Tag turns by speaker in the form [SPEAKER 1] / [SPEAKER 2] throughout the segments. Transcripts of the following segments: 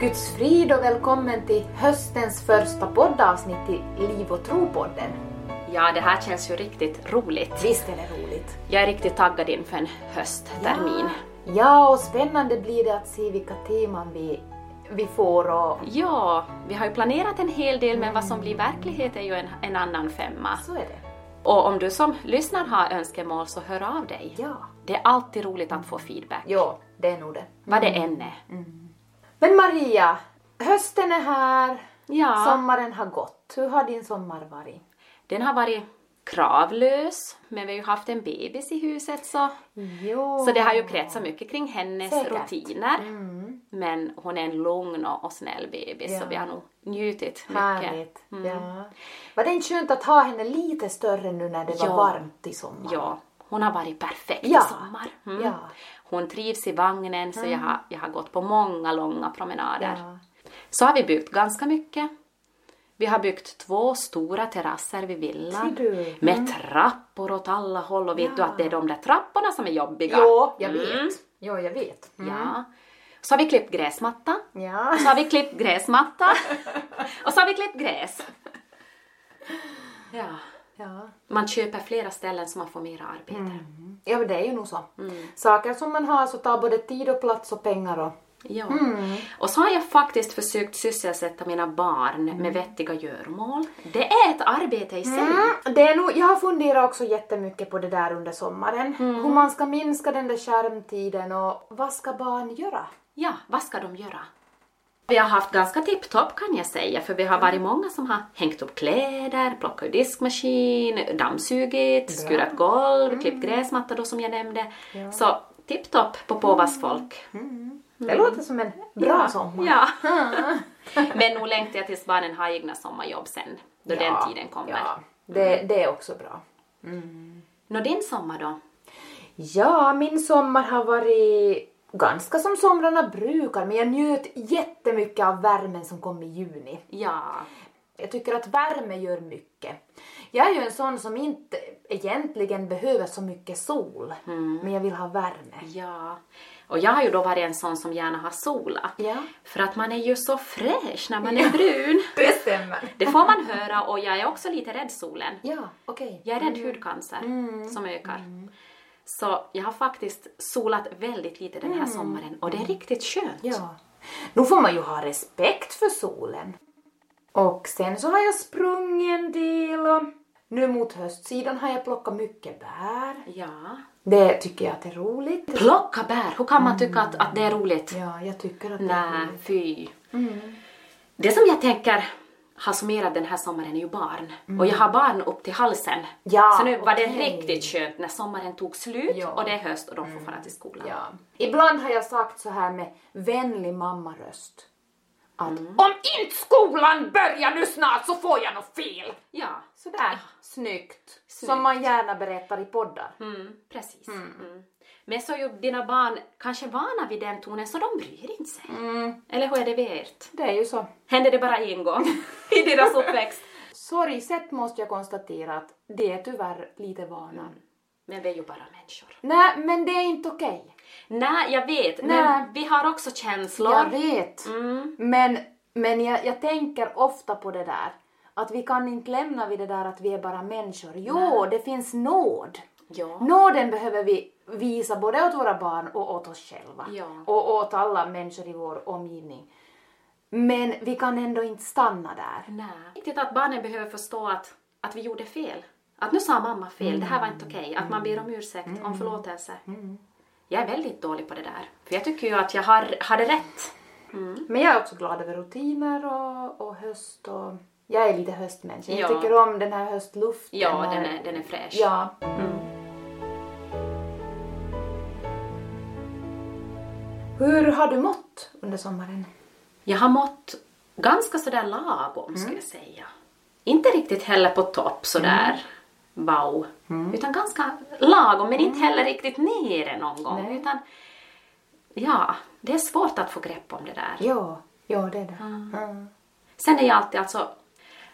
[SPEAKER 1] Guds frid och välkommen till höstens första poddavsnitt i Liv och tro-podden.
[SPEAKER 2] Ja, det här känns ju riktigt roligt.
[SPEAKER 1] Visst är det roligt?
[SPEAKER 2] Jag är riktigt taggad inför en hösttermin.
[SPEAKER 1] Ja, ja och spännande blir det att se vilka teman vi, vi får och
[SPEAKER 2] Ja, vi har ju planerat en hel del men vad som blir verklighet är ju en, en annan femma.
[SPEAKER 1] så är det.
[SPEAKER 2] Och om du som lyssnar har önskemål så hör av dig.
[SPEAKER 1] Ja,
[SPEAKER 2] Det är alltid roligt att få feedback,
[SPEAKER 1] ja det är nog det.
[SPEAKER 2] vad det än är.
[SPEAKER 1] Men Maria, hösten är här,
[SPEAKER 2] Ja,
[SPEAKER 1] sommaren har gått. Hur har din sommar varit?
[SPEAKER 2] den har varit kravlös, men vi har ju haft en bebis i huset så,
[SPEAKER 1] Jo.
[SPEAKER 2] så det har ju kretsat mycket kring hennes
[SPEAKER 1] Säkert.
[SPEAKER 2] rutiner.
[SPEAKER 1] Mm.
[SPEAKER 2] Men hon är en lugn och och snäll bebis så
[SPEAKER 1] Ja.
[SPEAKER 2] vi har nog njutit mycket.
[SPEAKER 1] Härligt.
[SPEAKER 2] Mm.
[SPEAKER 1] Ja. Var det inte skönt att ha henne lite större nu när det var
[SPEAKER 2] Ja.
[SPEAKER 1] varmt i sommar?
[SPEAKER 2] Ja, hon har varit perfekt
[SPEAKER 1] Ja.
[SPEAKER 2] i sommar. Mm.
[SPEAKER 1] Ja. Mm.
[SPEAKER 2] Hon trivs i vagnen så jag, har, jag har gått på många långa promenader.
[SPEAKER 1] Ja.
[SPEAKER 2] Så har vi byggt ganska mycket. Vi har byggt två stora terrasser vid villan.
[SPEAKER 1] Ser du? Mm.
[SPEAKER 2] Med trappor åt alla håll och vet du att det är de där trapporna som är jobbiga?
[SPEAKER 1] Jo, jag vet.
[SPEAKER 2] Mm.
[SPEAKER 1] Jo, jag vet. Mm.
[SPEAKER 2] Ja. Så har vi klippt gräsmattan.
[SPEAKER 1] Ja.
[SPEAKER 2] Så har vi klippt gräsmatta. Och så har vi klippt gräs. Ja.
[SPEAKER 1] Ja.
[SPEAKER 2] Man köper flera ställen så man får mera arbete.
[SPEAKER 1] Mm. ja, men det är ju nog så.
[SPEAKER 2] Mm.
[SPEAKER 1] Saker som man har så tar både tid och plats och pengar och...
[SPEAKER 2] Ja.
[SPEAKER 1] Mm.
[SPEAKER 2] Och så har jag faktiskt försökt sysselsätta mina barn med
[SPEAKER 1] Mm.
[SPEAKER 2] vettiga göromål. Det är ett arbete i sig. Mm.
[SPEAKER 1] Det är nog, jag har funderat också jättemycket på det där under sommaren.
[SPEAKER 2] Mm.
[SPEAKER 1] Hur man ska minska den där skärmtiden och vad ska barn göra?
[SPEAKER 2] Ja, vad ska de göra? Vi har haft ganska tipptopp kan jag säga, för
[SPEAKER 1] Mm.
[SPEAKER 2] vi har varit många som har hängt upp kläder, plockat ur diskmaskin, dammsugit, skurat golv, klippt
[SPEAKER 1] Mm.
[SPEAKER 2] gräsmatta då som jag nämnde. Så tipptopp på påvas folk.
[SPEAKER 1] Det låter som en Mm. bra sommar.
[SPEAKER 2] Mm. Ja. Men nog längtar jag tills barnen har egna sommarjobb sen, då den tiden kommer. Mm.
[SPEAKER 1] Ja. Det, det är också bra.
[SPEAKER 2] Nå, din sommar då?
[SPEAKER 1] Ja, min sommar har varit ganska som somrarna brukar men jag njöt jättemycket av värmen som kom i juni.
[SPEAKER 2] Ja.
[SPEAKER 1] Jag tycker att värme gör mycket. Jag är ju en sån som inte egentligen behöver så mycket sol, men jag vill ha värme.
[SPEAKER 2] Ja, och jag har ju då varit en sån som gärna har solat.
[SPEAKER 1] Ja.
[SPEAKER 2] För att man är ju så fräsch när man är brun.
[SPEAKER 1] Det stämmer.
[SPEAKER 2] Det får man höra och jag är också lite rädd solen.
[SPEAKER 1] Ja, okej.
[SPEAKER 2] Jag är rädd hudcancer
[SPEAKER 1] Mm.
[SPEAKER 2] som ökar. Så jag har faktiskt solat väldigt lite den här sommaren och det är riktigt skönt.
[SPEAKER 1] Mm. Ja. Nu får man ju ha respekt för solen. Och sen så har jag sprungit en del och nu mot höstsidan har jag plockat mycket bär.
[SPEAKER 2] Ja.
[SPEAKER 1] Det tycker jag att är roligt.
[SPEAKER 2] Plocka bär, hur kan
[SPEAKER 1] Mm.
[SPEAKER 2] man tycka att, att det är roligt?
[SPEAKER 1] Ja, jag tycker att det är
[SPEAKER 2] Nej,
[SPEAKER 1] roligt.
[SPEAKER 2] fy.
[SPEAKER 1] Mm.
[SPEAKER 2] Det som jag tänker har summerat den här sommaren är ju barn. Och jag har barn upp till halsen.
[SPEAKER 1] Ja,
[SPEAKER 2] så nu var det
[SPEAKER 1] okej.
[SPEAKER 2] riktigt skönt när sommaren tog slut
[SPEAKER 1] Ja. Mm.
[SPEAKER 2] och det är höst och de får fara till skolan.
[SPEAKER 1] Ja. Ibland har jag sagt så här med vänlig mammaröst. Att om inte skolan börjar nu snart så får jag något fel.
[SPEAKER 2] Ja,
[SPEAKER 1] Sådär. Snyggt.
[SPEAKER 2] Snyggt.
[SPEAKER 1] Som man gärna berättar i poddar.
[SPEAKER 2] mm, precis. Mm. Men så är ju dina barn kanske vana vid den tonen så de bryr inte sig. Eller hur är det vid ert?
[SPEAKER 1] Mm, Det är ju så.
[SPEAKER 2] Händer det bara en gång i deras uppväxt?
[SPEAKER 1] Sorgset måste jag konstatera att det är tyvärr lite vanan.
[SPEAKER 2] Men vi är ju bara människor.
[SPEAKER 1] Mm. Nej, men det är inte okej.
[SPEAKER 2] Nej, jag vet.
[SPEAKER 1] Nej.
[SPEAKER 2] Men vi har också känslor.
[SPEAKER 1] Jag vet.
[SPEAKER 2] Mm.
[SPEAKER 1] Men, men jag, jag tänker ofta på det där. Att vi kan inte lämna vid det där att vi är bara människor. Jo, det finns nåd.
[SPEAKER 2] Ja.
[SPEAKER 1] Nåden behöver vi visa både åt våra barn och åt oss själva.
[SPEAKER 2] Ja.
[SPEAKER 1] Och åt alla människor i vår omgivning. Men vi kan ändå inte stanna där.
[SPEAKER 2] Nej. Viktigt att barnen behöver förstå att, att vi gjorde fel. Att nu sa mamma fel, det här var inte okej. Att man ber om ursäkt, om förlåtelse. Jag är väldigt dålig på det där. För jag tycker ju att jag har, hade rätt. Mm.
[SPEAKER 1] Men jag är också glad över rutiner och, och höst och... Jag är lite höstmänniska. Jag
[SPEAKER 2] Ja.
[SPEAKER 1] tycker om den här höstluften.
[SPEAKER 2] Ja,
[SPEAKER 1] och-
[SPEAKER 2] den är, den är fräsch. Mm.
[SPEAKER 1] Ja. Hur har du mått under sommaren?
[SPEAKER 2] Jag har mått ganska sådär lagom, skulle jag säga. Inte riktigt heller på topp sådär, wow. Utan ganska lagom, men inte heller riktigt nere någon gång.
[SPEAKER 1] Nej.
[SPEAKER 2] Utan, ja, det är svårt att få grepp om det där.
[SPEAKER 1] Ja, ja det är det.
[SPEAKER 2] Ah.
[SPEAKER 1] Mm.
[SPEAKER 2] Sen är jag alltid alltså,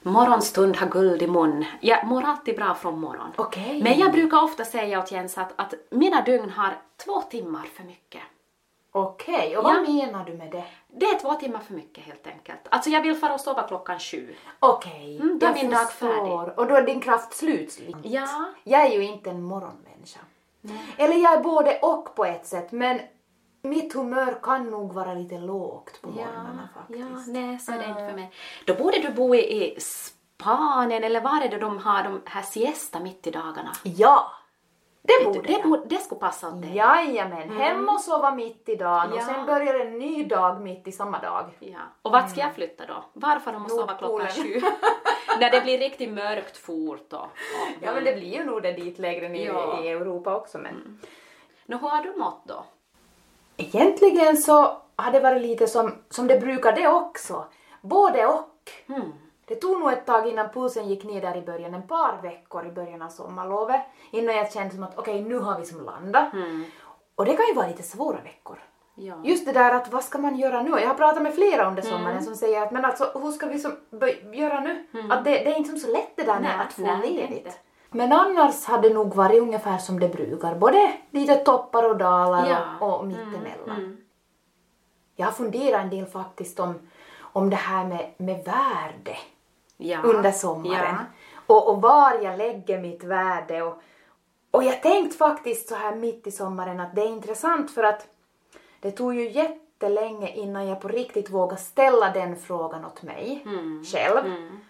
[SPEAKER 2] morgonstund har guld i mun. Jag mår alltid bra från morgon.
[SPEAKER 1] Okej.
[SPEAKER 2] Men jag brukar ofta säga åt Jens att, att mina dygn har två timmar för mycket.
[SPEAKER 1] Okej, och vad
[SPEAKER 2] Ja.
[SPEAKER 1] menar du med det?
[SPEAKER 2] Det är två timmar för mycket helt enkelt. Alltså jag vill fara och sova klockan sju.
[SPEAKER 1] Okej,
[SPEAKER 2] Mm, då är min dag
[SPEAKER 1] Och då är din kraft slut. Lite.
[SPEAKER 2] Ja.
[SPEAKER 1] Jag är ju inte en morgonmänniska. Eller jag är både och på ett sätt, men mitt humör kan nog vara lite lågt på morgnarna
[SPEAKER 2] ja,
[SPEAKER 1] faktiskt.
[SPEAKER 2] nej så är det inte för mig. Då borde du bo i, i Spanien eller var är det de har de här siesta mitt i dagarna?
[SPEAKER 1] Ja, det
[SPEAKER 2] Vet du,
[SPEAKER 1] borde Mm.
[SPEAKER 2] det,
[SPEAKER 1] jag.
[SPEAKER 2] borde, det skulle passa åt dig.
[SPEAKER 1] Jajamän, hem och sova mitt i dagen och
[SPEAKER 2] Ja.
[SPEAKER 1] sen börjar en ny dag mitt i samma dag.
[SPEAKER 2] Ja. Och vart ska jag flytta då? Varför de måste sova klockan sju?
[SPEAKER 1] Mm. Nordpolen.
[SPEAKER 2] När det blir riktigt mörkt fort då.
[SPEAKER 1] Ja men det blir ju nog det dit lägre ner
[SPEAKER 2] Ja.
[SPEAKER 1] i Europa också men.
[SPEAKER 2] Nu har du mått då?
[SPEAKER 1] Egentligen så har det varit lite som, som det brukar det också. Både och.
[SPEAKER 2] Mm.
[SPEAKER 1] Det tog nog ett tag innan pulsen gick ner där i början, en par veckor i början av sommarlovet. Innan jag kände som att okej, nu har vi som landat.
[SPEAKER 2] Mm.
[SPEAKER 1] Och det kan ju vara lite svåra veckor.
[SPEAKER 2] Ja.
[SPEAKER 1] Mm. Just det där att vad ska man göra nu? Jag har pratat med flera under
[SPEAKER 2] Mm.
[SPEAKER 1] sommaren som säger att men alltså hur ska vi som bö- göra nu? Att det, det är inte som så lätt det där med
[SPEAKER 2] Mm. Nej,
[SPEAKER 1] att få
[SPEAKER 2] nej, det är inte.
[SPEAKER 1] ledigt. Men annars hade det nog varit ungefär som det brukar, både lite toppar och dalar
[SPEAKER 2] Ja.
[SPEAKER 1] och, och mittemellan.
[SPEAKER 2] Mm.
[SPEAKER 1] Jag har funderat en del faktiskt om, om det här med, med värde
[SPEAKER 2] Ja.
[SPEAKER 1] under sommaren.
[SPEAKER 2] Ja.
[SPEAKER 1] Och, och var jag lägger mitt värde. Och, och jag tänkt faktiskt så här mitt i sommaren att det är intressant för att det tog ju jättelänge innan jag på riktigt vågade ställa den frågan åt mig
[SPEAKER 2] Mm.
[SPEAKER 1] själv.
[SPEAKER 2] Mm.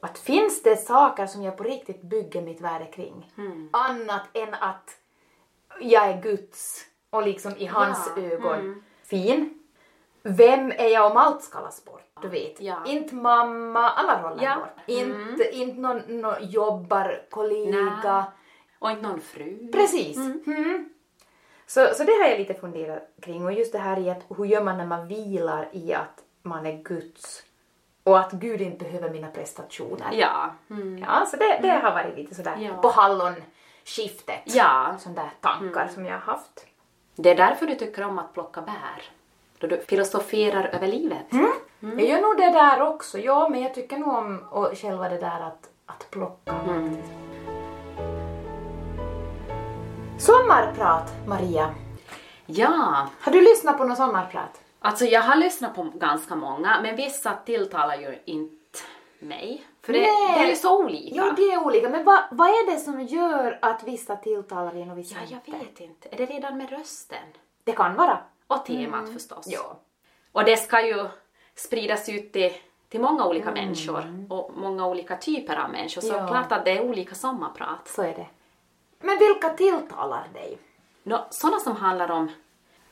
[SPEAKER 1] Att finns det saker som jag på riktigt bygger mitt värde kring?
[SPEAKER 2] Mm.
[SPEAKER 1] Annat än att jag är Guds och liksom i hans
[SPEAKER 2] Ja,
[SPEAKER 1] ögon
[SPEAKER 2] mm.
[SPEAKER 1] fin. Vem är jag om allt skalas bort? Du vet,
[SPEAKER 2] Ja.
[SPEAKER 1] inte mamma, alla roller
[SPEAKER 2] Ja. Mm.
[SPEAKER 1] bort. Inte, inte någon, någon jobbarkollega.
[SPEAKER 2] Nej. Och inte någon fru.
[SPEAKER 1] Precis. Mm. Så, så det har jag lite funderat kring och just det här i att hur gör man när man vilar i att man är Guds och att Gud inte behöver mina prestationer.
[SPEAKER 2] Ja. Mm.
[SPEAKER 1] Ja, så det, det har varit lite sådär
[SPEAKER 2] Ja.
[SPEAKER 1] på hallonskiftet.
[SPEAKER 2] Ja.
[SPEAKER 1] Sådana där tankar
[SPEAKER 2] Mm.
[SPEAKER 1] som jag har haft.
[SPEAKER 2] Det är därför du tycker om att plocka bär. Då du filosoferar över livet.
[SPEAKER 1] Mm.
[SPEAKER 2] Mm.
[SPEAKER 1] Jag gör nog det där också, ja, men jag tycker nog om och själva det där att, att plocka.
[SPEAKER 2] Mm.
[SPEAKER 1] faktiskt. Sommarprat, Maria.
[SPEAKER 2] Ja,
[SPEAKER 1] Har du lyssnat på något sommarprat?
[SPEAKER 2] alltså jag har lyssnat på ganska många men vissa tilltalar ju inte mig. För det,
[SPEAKER 1] Nej.
[SPEAKER 2] det är ju så olika.
[SPEAKER 1] Ja, det är olika, men vad, vad är det som gör att vissa tilltalar en och vissa
[SPEAKER 2] ja,
[SPEAKER 1] inte?
[SPEAKER 2] jag vet inte. Är det redan med rösten?
[SPEAKER 1] Det kan vara.
[SPEAKER 2] Och temat förstås.
[SPEAKER 1] Mm. Ja.
[SPEAKER 2] Och det ska ju spridas ut till, till många olika människor och många olika typer av människor. Så
[SPEAKER 1] Mm. Ja.
[SPEAKER 2] klart att det är olika sommarprat.
[SPEAKER 1] Så är det. Men vilka tilltalar dig?
[SPEAKER 2] Nå, sådana som handlar om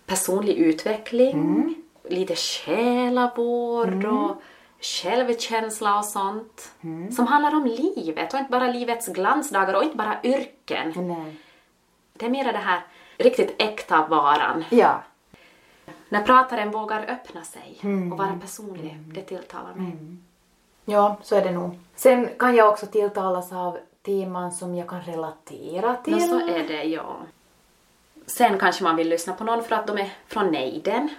[SPEAKER 2] personlig utveckling,
[SPEAKER 1] Mm.
[SPEAKER 2] lite själavård och självkänsla och sånt.
[SPEAKER 1] Mm.
[SPEAKER 2] Som handlar om livet och inte bara livets glansdagar och inte bara yrken.
[SPEAKER 1] Nej.
[SPEAKER 2] Det är mera det här riktigt äkta varan.
[SPEAKER 1] Ja.
[SPEAKER 2] När prataren vågar öppna sig
[SPEAKER 1] Mm.
[SPEAKER 2] och vara personlig, det tilltalar mig.
[SPEAKER 1] Ja, så är det nog. Sen kan jag också tilltalas av teman som jag kan relatera till.
[SPEAKER 2] Nå, så är det, ja. Sen kanske man vill lyssna på någon för att de är från nejden. Mm.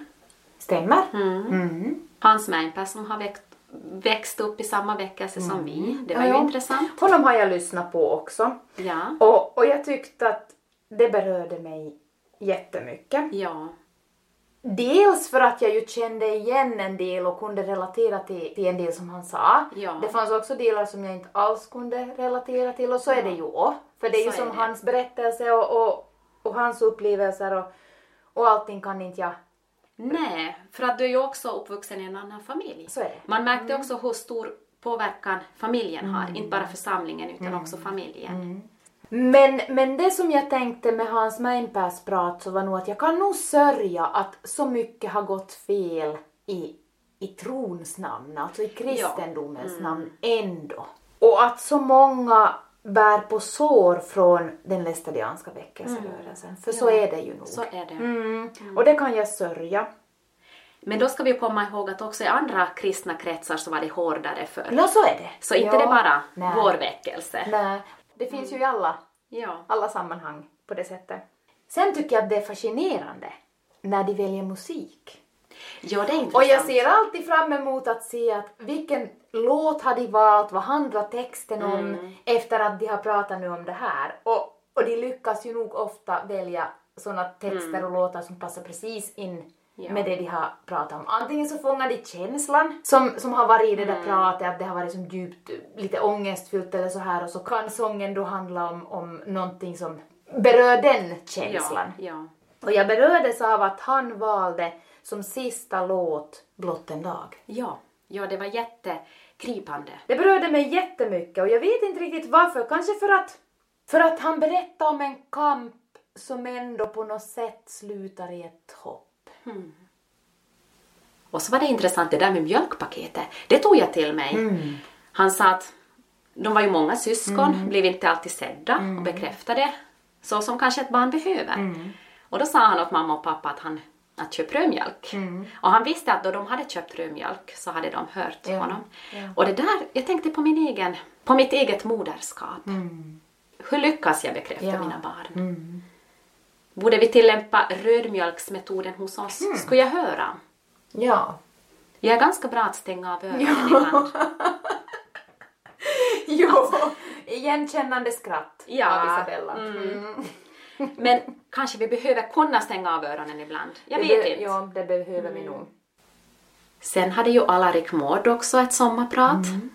[SPEAKER 1] Stämmer? Mm.
[SPEAKER 2] Hans Meinpää som har växt, växt upp i samma väckelse som vi. Det var
[SPEAKER 1] Mm. Ja,
[SPEAKER 2] ju
[SPEAKER 1] ja.
[SPEAKER 2] intressant.
[SPEAKER 1] Honom har jag lyssnat på också.
[SPEAKER 2] Ja.
[SPEAKER 1] Och, och jag tyckte att det berörde mig jättemycket.
[SPEAKER 2] Ja.
[SPEAKER 1] Dels för att jag ju kände igen en del och kunde relatera till, till en del som han sa.
[SPEAKER 2] Ja.
[SPEAKER 1] Det fanns också delar som jag inte alls kunde relatera till och så är det ju också. För det är ju
[SPEAKER 2] Så är
[SPEAKER 1] som
[SPEAKER 2] det.
[SPEAKER 1] hans berättelse och, och, och hans upplevelser och, och allting kan inte jag.
[SPEAKER 2] Nej, för att du är ju också uppvuxen i en annan familj.
[SPEAKER 1] Så är det. Mm.
[SPEAKER 2] Man märkte också hur stor påverkan familjen har, inte bara församlingen utan
[SPEAKER 1] Mm.
[SPEAKER 2] också familjen.
[SPEAKER 1] Men, men det som jag tänkte med Hans Meinpäs prat så var nog att jag kan nog sörja att så mycket har gått fel i, i trons namn, alltså i kristendomens namn
[SPEAKER 2] Mm.
[SPEAKER 1] ändå. Och att så många bär på sår från den lästadianska väckelserörelsen, för så är det ju nog.
[SPEAKER 2] Mm. Så är det.
[SPEAKER 1] Mm. Och det kan jag sörja.
[SPEAKER 2] Men då ska vi komma ihåg att också i andra kristna kretsar så var det hårdare förr.
[SPEAKER 1] Ja, så är det.
[SPEAKER 2] Så inte
[SPEAKER 1] ja.
[SPEAKER 2] det bara
[SPEAKER 1] Nej.
[SPEAKER 2] vår väckelse.
[SPEAKER 1] Nej, det finns ju i alla
[SPEAKER 2] Ja.
[SPEAKER 1] alla sammanhang på det sättet. Sen tycker jag att det är fascinerande när de väljer musik.
[SPEAKER 2] ja, det är intressant.
[SPEAKER 1] Och jag ser alltid fram emot att se att vilken låt har de valt, vad handlar texten om
[SPEAKER 2] Mm.
[SPEAKER 1] efter att de har pratat nu om det här. Och, och de lyckas ju nog ofta välja sådana texter
[SPEAKER 2] Mm.
[SPEAKER 1] och låtar som passar precis in med det de har pratat om. Antingen så fångar de känslan som, som har varit i det
[SPEAKER 2] Mm.
[SPEAKER 1] där pratet, att det har varit som djupt, lite ångestfyllt eller så här och så kan sången då handla om, om någonting som berör den känslan.
[SPEAKER 2] Ja, ja.
[SPEAKER 1] Och jag berördes av att han valde som sista låt Blott en dag.
[SPEAKER 2] Ja, ja det var jättekripande.
[SPEAKER 1] Det berörde mig jättemycket och jag vet inte riktigt varför. Kanske för att, för att han berättar om en kamp som ändå på något sätt slutar i ett hopp.
[SPEAKER 2] Och så var det intressant det där med mjölkpaketet. Det tog jag till mig.
[SPEAKER 1] Mm.
[SPEAKER 2] Han sa att de var ju många syskon,
[SPEAKER 1] Mm.
[SPEAKER 2] blev inte alltid sedda och bekräftade så som kanske ett barn behöver.
[SPEAKER 1] Mm.
[SPEAKER 2] Och då sa han åt mamma och pappa att han att köpa rödmjölk.
[SPEAKER 1] Mm.
[SPEAKER 2] Och han visste att då de hade köpt rödmjölk så hade de hört
[SPEAKER 1] Ja,
[SPEAKER 2] honom.
[SPEAKER 1] ja.
[SPEAKER 2] Och det där, jag tänkte på min egen, på mitt eget moderskap. Mm. Hur lyckas jag bekräfta
[SPEAKER 1] Ja.
[SPEAKER 2] mina barn? Borde vi tillämpa rödmjölksmetoden hos oss?
[SPEAKER 1] Mm.
[SPEAKER 2] Skulle jag höra?
[SPEAKER 1] Ja.
[SPEAKER 2] Jag är ganska bra att stänga av öronen ibland.
[SPEAKER 1] Jo. Alltså, Igenkännande skratt
[SPEAKER 2] Ja.
[SPEAKER 1] av Isabella. Mm.
[SPEAKER 2] Men kanske vi behöver kunna stänga av öronen ibland. Jag
[SPEAKER 1] det,
[SPEAKER 2] vet
[SPEAKER 1] be-
[SPEAKER 2] inte. Mm.
[SPEAKER 1] Ja, det behöver vi nog.
[SPEAKER 2] Sen hade ju Alarik Mård också ett sommarprat.
[SPEAKER 1] Mm.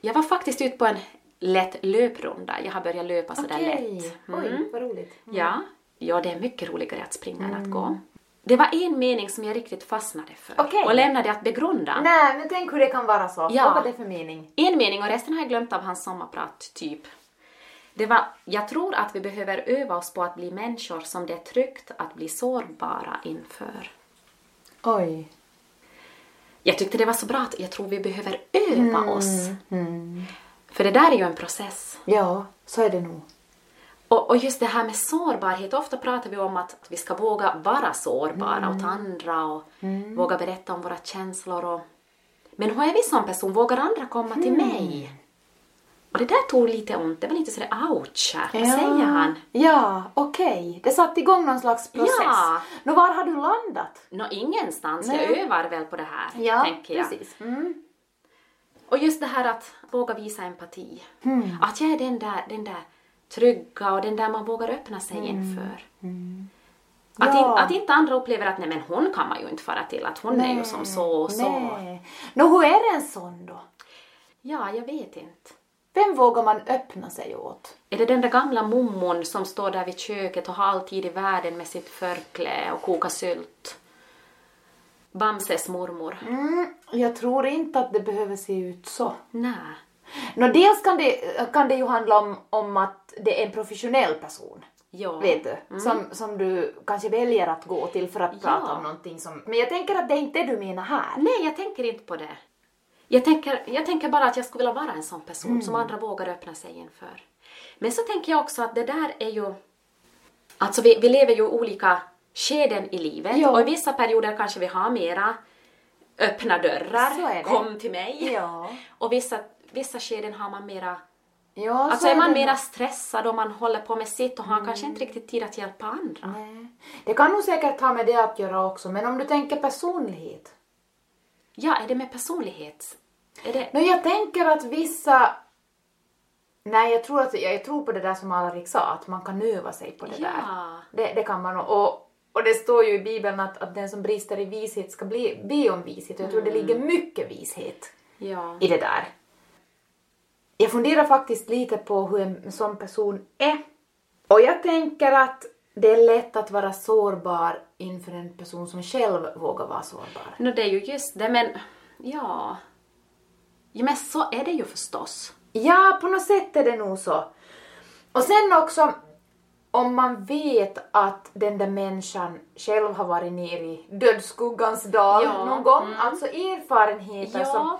[SPEAKER 2] Jag var faktiskt ute på en lätt löprunda. Jag har börjat löpa sådär lätt. Mm.
[SPEAKER 1] Oj, Mm. vad roligt.
[SPEAKER 2] Ja. ja, det är mycket roligare att springa än
[SPEAKER 1] Mm.
[SPEAKER 2] att gå. Det var en mening som jag riktigt fastnade för
[SPEAKER 1] Okej.
[SPEAKER 2] och lämnade att begrunda.
[SPEAKER 1] Nej, men tänk hur det kan vara så.
[SPEAKER 2] Ja.
[SPEAKER 1] Vad var det för mening?
[SPEAKER 2] En mening och resten har jag glömt av hans sommarprat, typ. Det var, jag tror att vi behöver öva oss på att bli människor som det är tryggt att bli sårbara inför.
[SPEAKER 1] Oj.
[SPEAKER 2] Jag tyckte det var så bra att jag tror vi behöver öva
[SPEAKER 1] Mm.
[SPEAKER 2] oss. För det där är ju en process.
[SPEAKER 1] Ja, så är det nog.
[SPEAKER 2] Och, och just det här med sårbarhet, ofta pratar vi om att vi ska våga vara sårbara åt
[SPEAKER 1] Mm.
[SPEAKER 2] andra och våga berätta om våra känslor. Och... Men hur är vi som person? Vågar andra komma till
[SPEAKER 1] Mm.
[SPEAKER 2] mig? Och det där tog lite ont, det var lite sådär ouch, här. vad säger han?
[SPEAKER 1] Ja, okej. Det satte igång någon slags process.
[SPEAKER 2] Ja.
[SPEAKER 1] Nå, var har du landat?
[SPEAKER 2] Nå, ingenstans, jag
[SPEAKER 1] Nej.
[SPEAKER 2] övar väl på det här, tänker jag.
[SPEAKER 1] precis. Mm.
[SPEAKER 2] Och just det här att våga visa empati.
[SPEAKER 1] Mm.
[SPEAKER 2] Att jag är den där, den där trygga och den där man vågar öppna sig inför. Att,
[SPEAKER 1] Mm. Ja.
[SPEAKER 2] in, att inte andra upplever att nej men hon kan man ju inte fara till, att hon är ju som så och så.
[SPEAKER 1] Nej. Nå, hur är det en sån då?
[SPEAKER 2] Ja, jag vet inte.
[SPEAKER 1] Vem vågar man öppna sig åt?
[SPEAKER 2] Är det den där gamla mummon som står där vid köket och har all tid i världen med sitt förkläde och kokar sylt? Bamses mormor?
[SPEAKER 1] Mm, jag tror inte att det behöver se ut så.
[SPEAKER 2] Nej.
[SPEAKER 1] Nå, dels kan det, kan det ju handla om, om att det är en professionell person.
[SPEAKER 2] Ja. Mm.
[SPEAKER 1] Vet du? Som, som du kanske väljer att gå till för att prata om någonting som... Men jag tänker att det är inte det du menar här.
[SPEAKER 2] Nej, jag tänker inte på det. Jag tänker, jag tänker bara att jag skulle vilja vara en sån person som
[SPEAKER 1] Mm.
[SPEAKER 2] andra vågar öppna sig inför. Men så tänker jag också att det där är ju... Alltså vi, vi lever ju olika skeden i livet
[SPEAKER 1] Ja.
[SPEAKER 2] och i vissa perioder kanske vi har mera öppna
[SPEAKER 1] Så är det.
[SPEAKER 2] dörrar, kom till mig.
[SPEAKER 1] Ja.
[SPEAKER 2] Och vissa, vissa skeden har man mera...
[SPEAKER 1] Ja,
[SPEAKER 2] Alltså är man
[SPEAKER 1] det. Mm.
[SPEAKER 2] mera stressad och man håller på med sitt och har kanske inte riktigt tid att hjälpa andra.
[SPEAKER 1] Nej. Det kan nog säkert ha med det att göra också, men om du tänker personlighet.
[SPEAKER 2] Ja, är det med personlighet? Är det...
[SPEAKER 1] Men jag tänker att vissa... Nej, jag tror, att, jag tror på det där som Alarik sa, att man kan öva sig på det
[SPEAKER 2] Ja.
[SPEAKER 1] där. Det, det kan man. Och, och det står ju i Bibeln att, att den som brister i vishet ska bli, be om vishet. Och jag tror det
[SPEAKER 2] Mm.
[SPEAKER 1] ligger mycket vishet
[SPEAKER 2] Ja.
[SPEAKER 1] i det där. Jag funderar faktiskt lite på hur en sån person är. Och jag tänker att det är lätt att vara sårbar inför en person som själv vågar vara sårbar.
[SPEAKER 2] No, det är ju just det, men ja. ja. Men så är det ju förstås.
[SPEAKER 1] Ja, på något sätt är det nog så. Och sen också, om man vet att den där människan själv har varit ner i dödsskuggans dal
[SPEAKER 2] Ja, mm.
[SPEAKER 1] någon gång, alltså erfarenheter som...
[SPEAKER 2] Ja,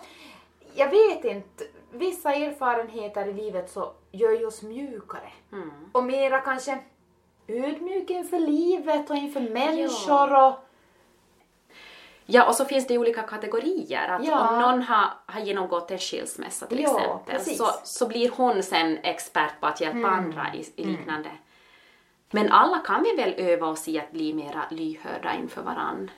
[SPEAKER 1] Jag vet inte, vissa erfarenheter i livet så gör ju oss mjukare.
[SPEAKER 2] mm.
[SPEAKER 1] och mera kanske ödmjuk inför livet och inför människor och...
[SPEAKER 2] ja och så finns det ju olika kategorier. Att
[SPEAKER 1] Ja.
[SPEAKER 2] Om någon har, har genomgått en skilsmässa till
[SPEAKER 1] Ja,
[SPEAKER 2] exempel
[SPEAKER 1] precis. Mm.
[SPEAKER 2] så, så blir hon sen expert på att hjälpa andra i, i liknande. Men alla kan vi väl öva oss i att bli mera lyhörda inför varann.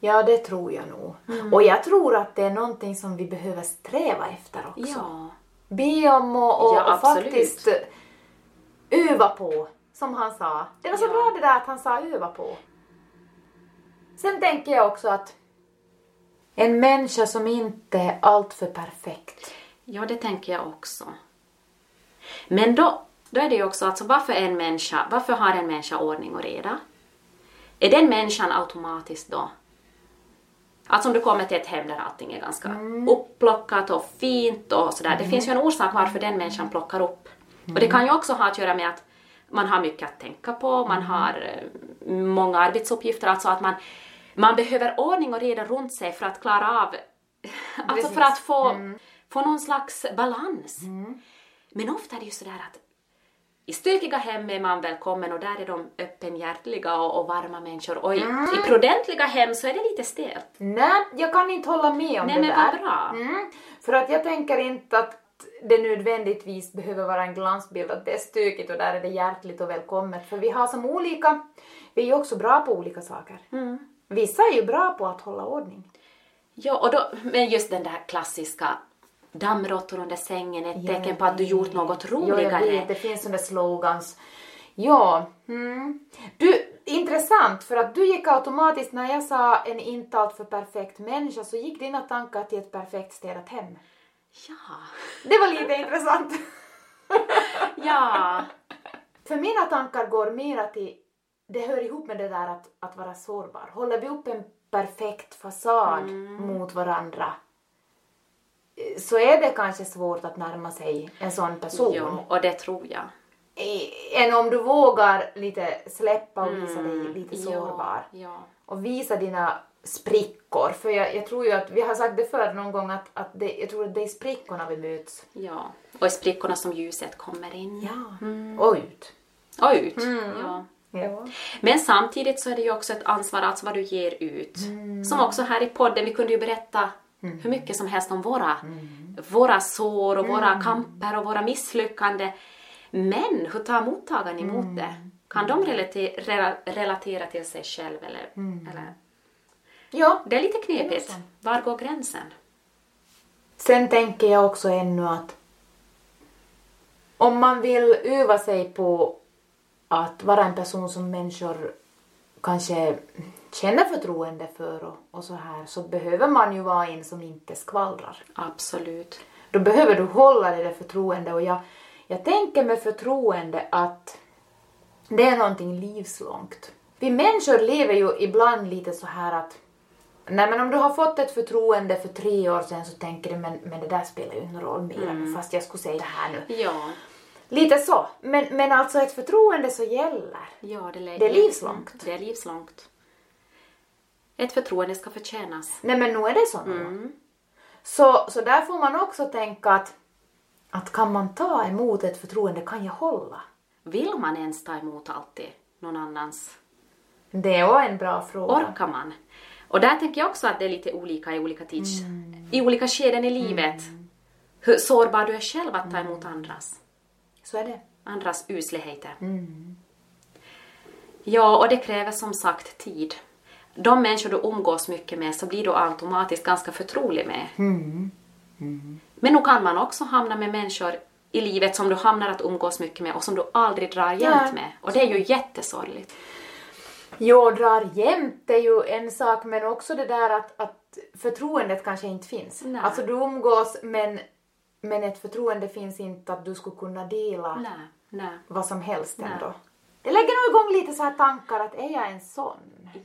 [SPEAKER 1] Ja, det tror jag nog.
[SPEAKER 2] Mm.
[SPEAKER 1] Och jag tror att det är någonting som vi behöver sträva efter också.
[SPEAKER 2] Ja.
[SPEAKER 1] Be om och, och,
[SPEAKER 2] Ja,
[SPEAKER 1] och
[SPEAKER 2] absolut.
[SPEAKER 1] faktiskt öva på som han sa. Det var så
[SPEAKER 2] Ja.
[SPEAKER 1] bra det där att han sa öva på. Sen tänker jag också att en människa som inte är alltför perfekt.
[SPEAKER 2] Ja, det tänker jag också. Men då, då är det ju också alltså varför, är en människa, varför har en människa ordning och reda? Är den människan automatiskt då? Alltså om du kommer till ett hem där allting är ganska upplockat och fint och sådär. Det finns ju en orsak varför den människan plockar upp. Och det kan ju också ha att göra med att man har mycket att tänka på, man har eh, många arbetsuppgifter, alltså att man, man behöver ordning och reda runt sig för att klara av, alltså för
[SPEAKER 1] Precis.
[SPEAKER 2] att få, få någon slags balans. Men ofta är det ju sådär att i stökiga hem är man välkommen och där är de öppenhjärtliga och, och varma människor och i,
[SPEAKER 1] Mm.
[SPEAKER 2] i prudentliga hem så är det lite stelt.
[SPEAKER 1] Nej, jag kan inte hålla med om
[SPEAKER 2] Nej
[SPEAKER 1] det
[SPEAKER 2] men
[SPEAKER 1] där.
[SPEAKER 2] vad bra.
[SPEAKER 1] Mm, för att jag tänker inte att det nödvändigtvis behöver vara en glansbild att det är stökigt och där är det hjärtligt och välkommet. För vi har som olika, vi är ju också bra på olika saker.
[SPEAKER 2] Mm.
[SPEAKER 1] Vissa är ju bra på att hålla ordning.
[SPEAKER 2] Ja, och då, men just den där klassiska dammråttor under sängen är ett
[SPEAKER 1] Ja,
[SPEAKER 2] tecken på att du gjort något
[SPEAKER 1] Jo, jag vet,
[SPEAKER 2] roligare.
[SPEAKER 1] det finns sådana slogans. Ja, mm. du, intressant för att du gick automatiskt när jag sa en inte alltför perfekt människa så gick dina tankar till ett perfekt städat hem.
[SPEAKER 2] Ja,
[SPEAKER 1] Det var lite intressant.
[SPEAKER 2] ja.
[SPEAKER 1] För mina tankar går mera till, det hör ihop med det där att, att vara sårbar. Håller vi upp en perfekt fasad mot varandra eh, så är det kanske svårt att närma sig en sån person.
[SPEAKER 2] Jo, och det tror jag.
[SPEAKER 1] Eh, Än om du vågar lite släppa och visa dig lite sårbar.
[SPEAKER 2] Mm, Ja, ja.
[SPEAKER 1] Och visa dina sprickor. För jag, jag tror ju att, vi har sagt det förr någon gång att, att det, jag tror att det är sprickorna vi möts.
[SPEAKER 2] ja. Och i sprickorna som ljuset kommer in. Mm.
[SPEAKER 1] Ja. Mm. Och ut.
[SPEAKER 2] Och ut. Ja.
[SPEAKER 1] Ja.
[SPEAKER 2] Men samtidigt så är det ju också ett ansvar, alltså vad du ger ut.
[SPEAKER 1] Mm.
[SPEAKER 2] Som också här i podden, vi kunde ju berätta hur mycket som helst om våra,
[SPEAKER 1] Mm.
[SPEAKER 2] våra sår och våra kamper och våra misslyckanden. Men hur tar mottagaren emot
[SPEAKER 1] Mm.
[SPEAKER 2] det? Kan de relate- rela- relatera till sig själv eller, eller?
[SPEAKER 1] ja.
[SPEAKER 2] Det är lite
[SPEAKER 1] Mm. Det är
[SPEAKER 2] knepigt.
[SPEAKER 1] så.
[SPEAKER 2] Var går gränsen?
[SPEAKER 1] Sen tänker jag också ännu att om man vill öva sig på att vara en person som människor kanske känner förtroende för och, och så här så behöver man ju vara en som inte skvallrar.
[SPEAKER 2] Absolut.
[SPEAKER 1] Då behöver du hålla det där förtroende och jag, jag tänker med förtroende att det är någonting livslångt. Vi människor lever ju ibland lite så här att Nej men om du har fått ett förtroende för tre år sedan så tänker du men, men det där spelar ju ingen roll mer fast jag skulle säga det här nu.
[SPEAKER 2] Ja,
[SPEAKER 1] Lite så. Men, men alltså ett förtroende så gäller.
[SPEAKER 2] ja det, lä- Mm,
[SPEAKER 1] Det är livslångt.
[SPEAKER 2] Det är livslångt. Ett förtroende ska förtjänas.
[SPEAKER 1] Nej men nu är det så nu. Så, så där får man också tänka att, att kan man ta emot ett förtroende, kan jag hålla?
[SPEAKER 2] Vill man ens ta emot alltid någon annans
[SPEAKER 1] Det var en bra fråga.
[SPEAKER 2] orkar man? Och där tänker jag också att det är lite olika i olika tids... I olika skeden i livet. Hur sårbar du är själv att ta emot andras,
[SPEAKER 1] Så är det.
[SPEAKER 2] andras usligheter. Ja, och det kräver som sagt tid. De människor du umgås mycket med så blir du automatiskt ganska förtrolig med. Men nog kan man också hamna med människor i livet som du hamnar att umgås mycket med och som du aldrig drar jämt
[SPEAKER 1] Nej.
[SPEAKER 2] med. Och det är ju jättesorgligt.
[SPEAKER 1] Jag drar jämt är ju en sak men också det där att, att förtroendet kanske inte finns.
[SPEAKER 2] Nej.
[SPEAKER 1] Alltså du umgås men, men ett förtroende finns inte att du skulle kunna dela
[SPEAKER 2] Nej, nej.
[SPEAKER 1] vad som helst ändå. Det lägger nog igång lite så här tankar att är jag en sån?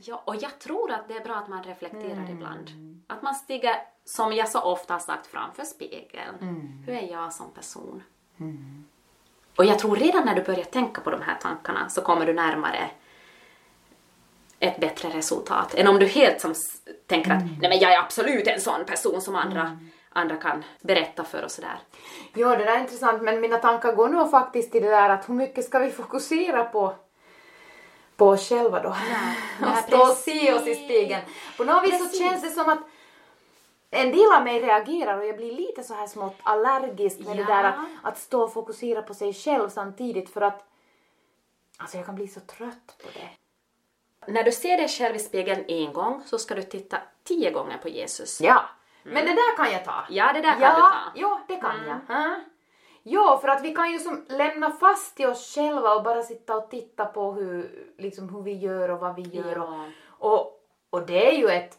[SPEAKER 2] Ja, och jag tror att det är bra att man reflekterar ibland. Att man stiger, som jag så ofta har sagt, framför spegeln. Hur är jag som person? Mm. Och jag tror redan när du börjar tänka på de här tankarna så kommer du närmare ett bättre resultat än om du helt som s- tänker att nej men jag är absolut en sån person som andra, andra kan berätta för och sådär.
[SPEAKER 1] Ja, det där är intressant men mina tankar går nog faktiskt till det där att hur mycket ska vi fokusera på på oss själva då?
[SPEAKER 2] ja,
[SPEAKER 1] och stå och se
[SPEAKER 2] precis.
[SPEAKER 1] oss i spegeln. På något vis så
[SPEAKER 2] Precis.
[SPEAKER 1] känns det som att en del av mig reagerar och jag blir lite så här smått allergisk med det
[SPEAKER 2] Ja.
[SPEAKER 1] där att, att stå och fokusera på sig själv samtidigt för att alltså jag kan bli så trött på det.
[SPEAKER 2] När du ser dig själv i spegeln en gång så ska du titta tio gånger på Jesus. Mm.
[SPEAKER 1] Ja, men det där kan jag ta.
[SPEAKER 2] Ja, det där kan Mm.
[SPEAKER 1] ja,
[SPEAKER 2] du ta.
[SPEAKER 1] Ja, det kan jag. Ja. Jo, för att vi kan ju som lämna fast i oss själva och bara sitta och titta på hur, liksom, hur vi gör och vad vi gör. Och,
[SPEAKER 2] Ja.
[SPEAKER 1] och, och det är ju ett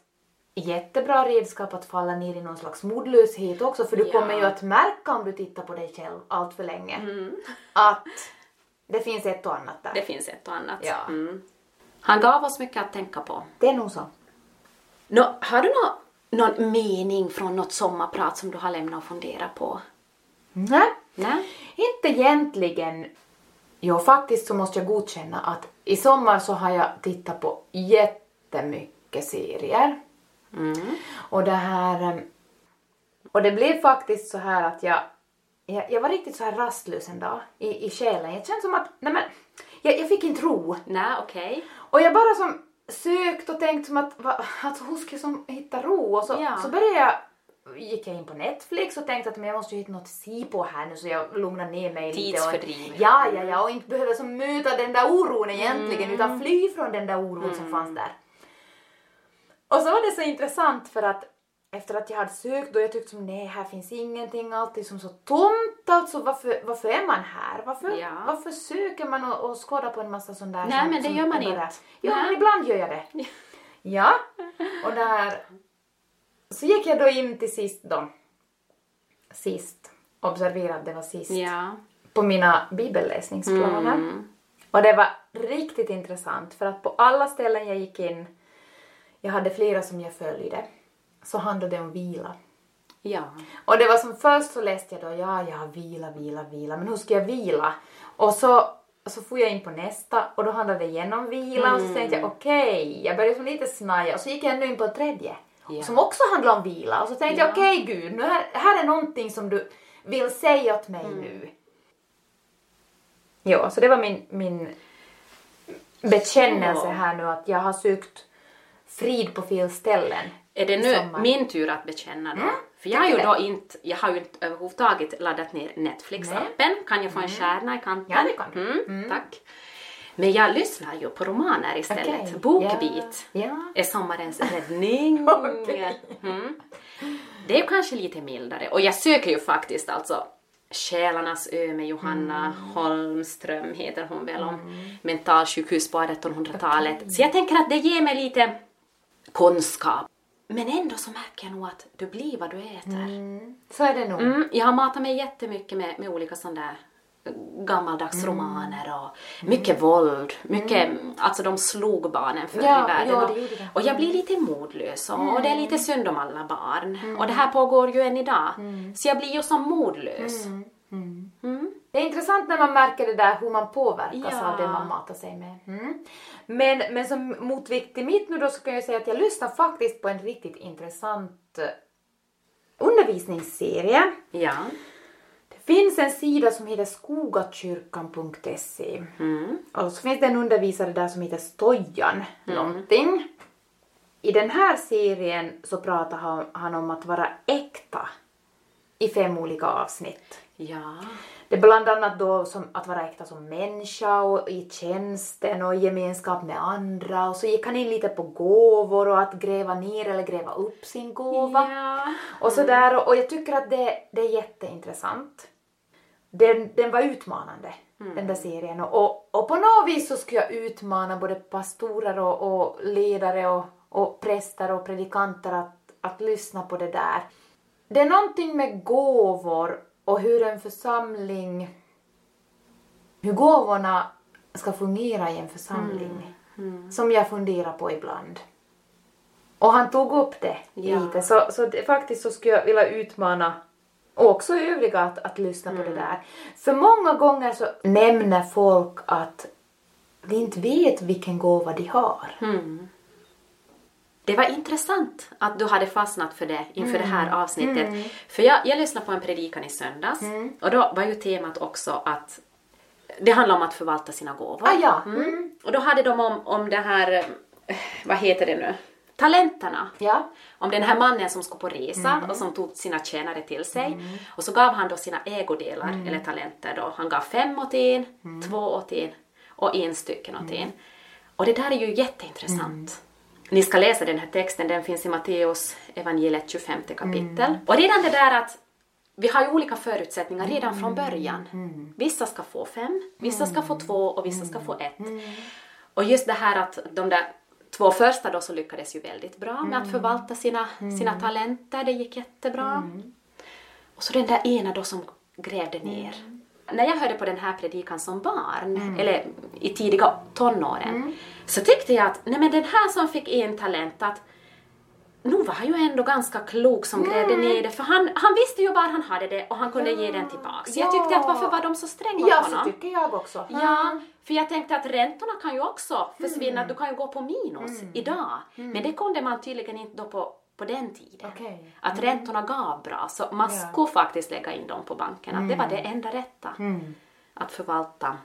[SPEAKER 1] jättebra redskap att falla ner i någon slags modlöshet också för du
[SPEAKER 2] Ja.
[SPEAKER 1] kommer ju att märka om du tittar på dig själv allt för länge
[SPEAKER 2] Mm.
[SPEAKER 1] att det finns ett och annat där.
[SPEAKER 2] Det finns ett och annat.
[SPEAKER 1] Ja.
[SPEAKER 2] Mm. Han gav oss mycket att tänka på.
[SPEAKER 1] Det är nog så.
[SPEAKER 2] Nå, har du nå, någon mening från något sommarprat som du har lämnat och funderat på?
[SPEAKER 1] Nej.
[SPEAKER 2] Nej?
[SPEAKER 1] Inte egentligen. Jo, faktiskt så måste jag godkänna att i sommar så har jag tittat på jättemycket serier.
[SPEAKER 2] Mm.
[SPEAKER 1] Och det här... em, Och det blev faktiskt så här att jag... Jag, jag var riktigt så här rastlös en dag i, i själen. Jag kände som att, nej men, jag, jag fick inte ro.
[SPEAKER 2] Nej, okej.
[SPEAKER 1] Och jag bara som sökt och tänkt som att, va, alltså hur ska jag som hitta ro? Och så,
[SPEAKER 2] Ja.
[SPEAKER 1] så började jag, gick jag in på Netflix och tänkte att men jag måste ju hitta något att se på här nu så jag lugnar ner mig lite. och-
[SPEAKER 2] Tidsfördriv.
[SPEAKER 1] Ja, ja, ja och inte behöver som möta den där oron egentligen
[SPEAKER 2] Mm.
[SPEAKER 1] utan fly från den där oron som fanns där. Och så var det så intressant för att efter att jag hade sökt och jag tyckte som nej här finns ingenting, allt är som så tomt alltså varför, varför är man här? Varför,
[SPEAKER 2] Ja.
[SPEAKER 1] varför söker man och, och skådar på en massa sån där
[SPEAKER 2] Nej, men det gör man
[SPEAKER 1] bara-
[SPEAKER 2] inte.
[SPEAKER 1] Jo,
[SPEAKER 2] Nej.
[SPEAKER 1] men ibland gör jag det. Ja. Och där... Så gick jag då in till sist då. Sist. Observera att det var sist.
[SPEAKER 2] Ja. Mm.
[SPEAKER 1] På mina bibelläsningsplaner. Och det var riktigt intressant för att på alla ställen jag gick in, jag hade flera som jag följde, så handlade det om vila.
[SPEAKER 2] Ja.
[SPEAKER 1] Och det var som först så läste jag då, ja, ja, vila, vila, vila, men hur ska jag vila? Och så, så får jag in på nästa och då handlade det igen om vila och så tänkte
[SPEAKER 2] Mm.
[SPEAKER 1] jag okej, jag började som lite snaja och så gick jag ännu in på ett tredje
[SPEAKER 2] Ja.
[SPEAKER 1] som också handlade om vila och så tänkte jag okej gud, nu här, här är någonting som du vill säga åt
[SPEAKER 2] Mm.
[SPEAKER 1] mig nu. Ja, så det var min, min bekännelse
[SPEAKER 2] Så.
[SPEAKER 1] här nu att jag har sökt frid på fel ställen.
[SPEAKER 2] Är det nu
[SPEAKER 1] Sommar.
[SPEAKER 2] min tur att bekänna då?
[SPEAKER 1] Mm,
[SPEAKER 2] För jag, har ju
[SPEAKER 1] tycker
[SPEAKER 2] då inte, jag har ju inte överhuvudtaget laddat ner Netflix-appen. Kan jag få en stjärna i kanten?
[SPEAKER 1] Ja, det kan du.
[SPEAKER 2] Mm, Tack. Men jag lyssnar ju på romaner istället.
[SPEAKER 1] Okej.
[SPEAKER 2] Bokbit
[SPEAKER 1] Ja. ja.
[SPEAKER 2] är sommarens räddning.
[SPEAKER 1] Okej.
[SPEAKER 2] mm. Det är ju kanske lite mildare. Och jag söker ju faktiskt alltså Själarnas ö med Johanna Holmström heter hon väl om mentalsjukhus på 1800-talet. Så jag tänker att det ger mig lite kunskap. Men ändå så märker jag nog att du blir vad du äter.
[SPEAKER 1] Mm, så är det nog.
[SPEAKER 2] Mm, jag har matat mig jättemycket med, med olika sådana där gammaldags
[SPEAKER 1] Mm.
[SPEAKER 2] romaner och mycket våld. Mycket, Alltså de slog barnen förr
[SPEAKER 1] Ja,
[SPEAKER 2] i världen.
[SPEAKER 1] ja, det
[SPEAKER 2] och,
[SPEAKER 1] gjorde det. Mm.
[SPEAKER 2] och jag blir lite modlös och, och det är lite synd om alla barn.
[SPEAKER 1] Mm.
[SPEAKER 2] Och det här pågår ju än idag. Så jag blir ju som
[SPEAKER 1] Mm.
[SPEAKER 2] modlös. Mm.
[SPEAKER 1] Det är intressant när man märker det där hur man påverkas
[SPEAKER 2] Ja.
[SPEAKER 1] av det man matar sig med. Mm. Men, men som motvikt till mitt nu då så kan jag säga att jag lyssnar faktiskt på en riktigt intressant eh, undervisningsserie.
[SPEAKER 2] Ja.
[SPEAKER 1] Det finns en sida som heter skogakyrkan.se
[SPEAKER 2] Mm.
[SPEAKER 1] och så finns det en undervisare där som heter Stojan någonting. I den här serien så pratar han- han om att vara äkta i fem olika avsnitt.
[SPEAKER 2] Ja.
[SPEAKER 1] Det är bland annat då som att vara äkta som människa och i tjänsten och i gemenskap med andra och så gick han in lite på gåvor och att gräva ner eller gräva upp sin gåva
[SPEAKER 2] Ja.
[SPEAKER 1] och sådär och, och jag tycker att det, det är jätteintressant. Den, den var utmanande den där serien och, och, och på något vis så skulle jag utmana både pastorer och, och ledare och, och präster och predikanter att, att lyssna på det där. Det är någonting med gåvor och hur en församling, hur gåvorna ska fungera i en
[SPEAKER 2] Mm.
[SPEAKER 1] församling som jag funderar på ibland. Och han tog upp det
[SPEAKER 2] Ja.
[SPEAKER 1] lite så, så det, faktiskt så skulle jag vilja utmana och också övriga att, att lyssna på
[SPEAKER 2] Mm.
[SPEAKER 1] det där. För många gånger så nämner folk att de inte vet vilken gåva de har.
[SPEAKER 2] Mm. Det var intressant att du hade fastnat för det inför det här avsnittet. För jag, jag lyssnade på en predikan i söndags och då var ju temat också att det handlar om att förvalta sina gåvor.
[SPEAKER 1] Ah, ja.
[SPEAKER 2] Mm. Och då hade de om, om det här, eh, vad heter det nu, talenterna.
[SPEAKER 1] Ja.
[SPEAKER 2] Om den här mannen som skulle på resa och som tog sina tjänare till sig. Och så gav han då sina ägodelar, eller talenter då. Han gav fem åt en, två åt en och en stycken åt en. Och det där är ju jätteintressant. Ni ska läsa den här texten, den finns i Matteus evangeliet 25 kapitel. Och redan det där att vi har ju olika förutsättningar redan från början. Vissa ska få fem, vissa ska få två och vissa ska få ett. Och just det här att de där två första då så lyckades ju väldigt bra med
[SPEAKER 1] Mm.
[SPEAKER 2] att förvalta sina, sina talenter, det gick jättebra.
[SPEAKER 1] Mm.
[SPEAKER 2] Och så den där ena då som grävde ner. När jag hörde på den här predikan som barn,
[SPEAKER 1] Mm.
[SPEAKER 2] eller i tidiga tonåren, så tyckte jag att nej men den här som fick en talent att nu var han ju ändå ganska klok som grävde ner det för han, han visste ju var han hade det och han kunde ge den tillbaks. Jag tyckte att varför var de så stränga mot
[SPEAKER 1] Ja, så
[SPEAKER 2] honom?
[SPEAKER 1] tycker jag också.
[SPEAKER 2] Mm. Ja, för jag tänkte att räntorna kan ju också försvinna,
[SPEAKER 1] Mm.
[SPEAKER 2] du kan ju gå på minus idag. Men det kunde man tydligen inte då på, på den tiden.
[SPEAKER 1] Okej. Mm.
[SPEAKER 2] Att räntorna gav bra, så man
[SPEAKER 1] Ja.
[SPEAKER 2] skulle faktiskt lägga in dem på banken. Att det var det enda rätta.
[SPEAKER 1] Mm.
[SPEAKER 2] Att förvalta,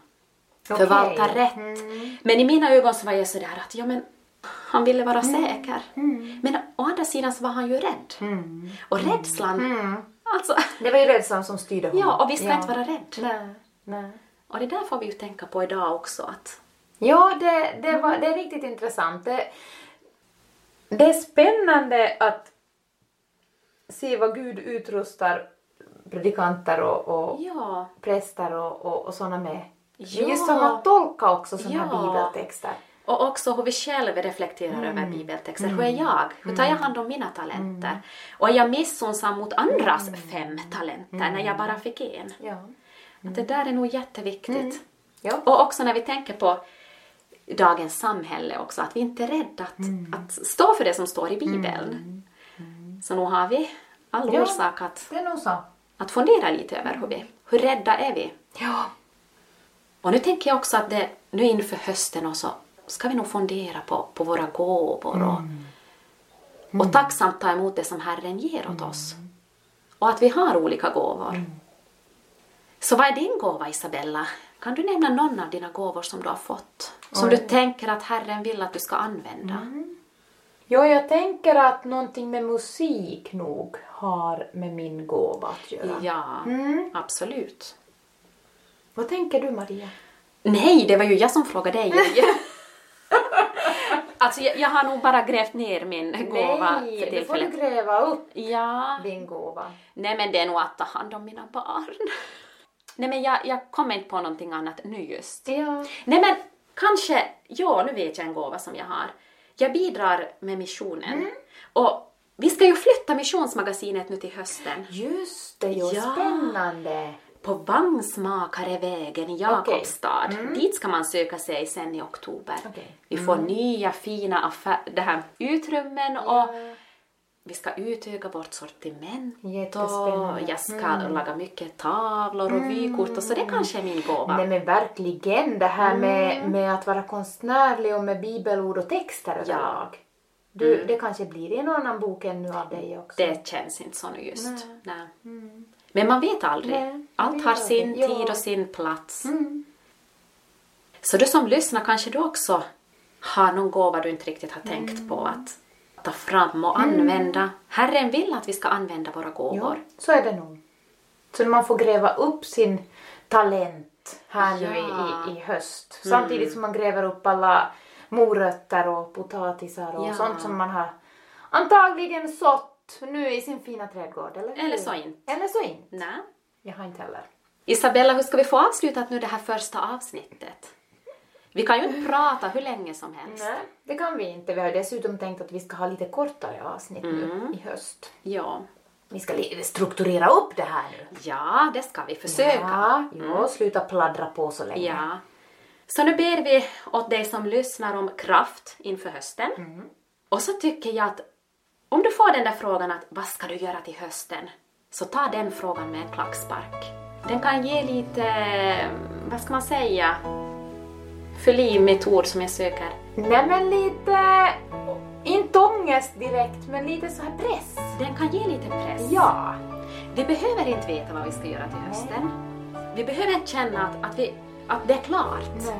[SPEAKER 1] Okej.
[SPEAKER 2] förvalta rätt.
[SPEAKER 1] Mm.
[SPEAKER 2] Men i mina ögon så var jag sådär att, ja men han ville vara säker.
[SPEAKER 1] Mm.
[SPEAKER 2] Men å andra sidan så var han ju rädd.
[SPEAKER 1] Mm.
[SPEAKER 2] Och rädslan,
[SPEAKER 1] Mm.
[SPEAKER 2] alltså.
[SPEAKER 1] Det var ju rädslan som styrde honom.
[SPEAKER 2] Ja, och vi ska inte vara rädd.
[SPEAKER 1] Nej, nej.
[SPEAKER 2] Och det där får vi ju tänka på idag också. Att,
[SPEAKER 1] Ja, det, det, var, det är riktigt intressant. Det, det är spännande att se vad Gud utrustar predikanter och, och
[SPEAKER 2] ja,
[SPEAKER 1] präster och, och, och sådana med.
[SPEAKER 2] Ja.
[SPEAKER 1] Just som att tolka också sådana
[SPEAKER 2] Ja.
[SPEAKER 1] här bibeltexter.
[SPEAKER 2] Och också hur vi själva reflekterar över bibeltexter. Hur är jag? Hur tar jag hand om mina talenter? Och är jag missunnsam mot andras fem talenter när jag bara fick en?
[SPEAKER 1] Ja.
[SPEAKER 2] Att det där är nog jätteviktigt.
[SPEAKER 1] Ja.
[SPEAKER 2] Och också när vi tänker på dagens samhälle också, att vi inte är rädda att, att stå för det som står i Bibeln. Så nog har vi all
[SPEAKER 1] Ja.
[SPEAKER 2] orsak att,
[SPEAKER 1] Det är nog så.
[SPEAKER 2] att fundera lite över hur vi, hur rädda är vi?
[SPEAKER 1] Ja.
[SPEAKER 2] Och nu tänker jag också att det, nu inför hösten och så ska vi nog fundera på, på våra gåvor och,
[SPEAKER 1] Mm.
[SPEAKER 2] och tacksamt ta emot det som Herren ger åt oss.
[SPEAKER 1] Mm.
[SPEAKER 2] Och att vi har olika gåvor. Så vad är din gåva Isabella? Kan du nämna någon av dina gåvor som du har fått? Som du tänker att Herren vill att du ska använda?
[SPEAKER 1] ja, jag tänker att någonting med musik nog har med min gåva att göra.
[SPEAKER 2] Ja,
[SPEAKER 1] Mm.
[SPEAKER 2] absolut.
[SPEAKER 1] Vad tänker du Maria?
[SPEAKER 2] Nej, det var ju jag som frågade dig. alltså jag, jag har nog bara grävt ner min gåva
[SPEAKER 1] Nej,
[SPEAKER 2] för
[SPEAKER 1] nu får du
[SPEAKER 2] tillfället.
[SPEAKER 1] gräva upp
[SPEAKER 2] Ja.
[SPEAKER 1] din gåva.
[SPEAKER 2] Nej men det är nog att ta hand om mina barn. Nej men jag, jag kommer inte på någonting annat nu just.
[SPEAKER 1] Ja.
[SPEAKER 2] Nej men kanske, ja nu vet jag en gåva som jag har. Jag bidrar med missionen. Och vi ska ju flytta missionsmagasinet nu till hösten.
[SPEAKER 1] Just det, ja.
[SPEAKER 2] Ja.
[SPEAKER 1] spännande.
[SPEAKER 2] På Vangsmakarevägen i Jakobstad. Dit ska man söka sig sen i oktober.
[SPEAKER 1] Okej.
[SPEAKER 2] Vi får nya fina affär, det här, utrymmen och vi ska utöka vårt sortiment.
[SPEAKER 1] Jättespännande.
[SPEAKER 2] Och jag ska
[SPEAKER 1] Mm.
[SPEAKER 2] laga mycket tavlor och vykort och så det kanske är min gåva.
[SPEAKER 1] Nej men verkligen, det här med, med att vara konstnärlig och med bibelord och texter överlag. Du, Det kanske blir en annan bok ännu av dig också.
[SPEAKER 2] Det känns inte så nu just. Nej. Men man vet aldrig.
[SPEAKER 1] Mm. Nej, man
[SPEAKER 2] Allt
[SPEAKER 1] vet
[SPEAKER 2] har sin
[SPEAKER 1] aldrig. Ja.
[SPEAKER 2] tid och sin plats.
[SPEAKER 1] Mm.
[SPEAKER 2] Så du som lyssnar kanske du också har någon gåva du inte riktigt har tänkt på
[SPEAKER 1] Mm.
[SPEAKER 2] att ta fram och använda. Herren vill att vi ska använda våra
[SPEAKER 1] Ja,
[SPEAKER 2] gåvor.
[SPEAKER 1] så är det nog. Så man får gräva upp sin talent här nu
[SPEAKER 2] Ja. Mm.
[SPEAKER 1] i, i höst. Samtidigt som man gräver upp alla morötter och potatisar och
[SPEAKER 2] Ja.
[SPEAKER 1] sånt som man har antagligen sått nu i sin fina trädgård. Eller, hur?
[SPEAKER 2] Eller så inte.
[SPEAKER 1] Eller så inte.
[SPEAKER 2] Nej.
[SPEAKER 1] Jag har inte heller.
[SPEAKER 2] Isabella, hur ska vi få avslutat nu det här första avsnittet? Vi kan ju inte
[SPEAKER 1] Mm.
[SPEAKER 2] prata hur länge som helst.
[SPEAKER 1] Nej, det kan vi inte. Vi har dessutom tänkt att vi ska ha lite kortare avsnitt
[SPEAKER 2] Mm.
[SPEAKER 1] nu i höst.
[SPEAKER 2] Ja.
[SPEAKER 1] Vi ska li- strukturera upp det här nu.
[SPEAKER 2] ja, det ska vi försöka.
[SPEAKER 1] Ja, jo, sluta pladdra på så länge.
[SPEAKER 2] Mm. Ja. Mm. Så nu ber vi åt dig som lyssnar om kraft inför hösten. Och så tycker jag att om du får den där frågan att vad ska du göra till hösten? Så ta den frågan med en klackspark. Den kan ge lite, vad ska man säga, förliv med ett ord som jag söker.
[SPEAKER 1] Nej men lite, inte ångest direkt, men lite så här press.
[SPEAKER 2] Den kan ge lite press.
[SPEAKER 1] Ja.
[SPEAKER 2] Vi behöver inte veta vad vi ska göra till hösten. Vi behöver inte känna att, att, vi, att det är klart.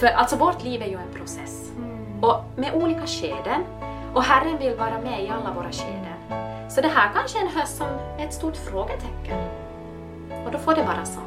[SPEAKER 2] För alltså vårt liv är ju en process.
[SPEAKER 1] Mm.
[SPEAKER 2] Och med olika skeden. Och Herren vill vara med i alla våra skeden. Så det här kanske är en höst som är ett stort frågetecken. Och då får det vara så.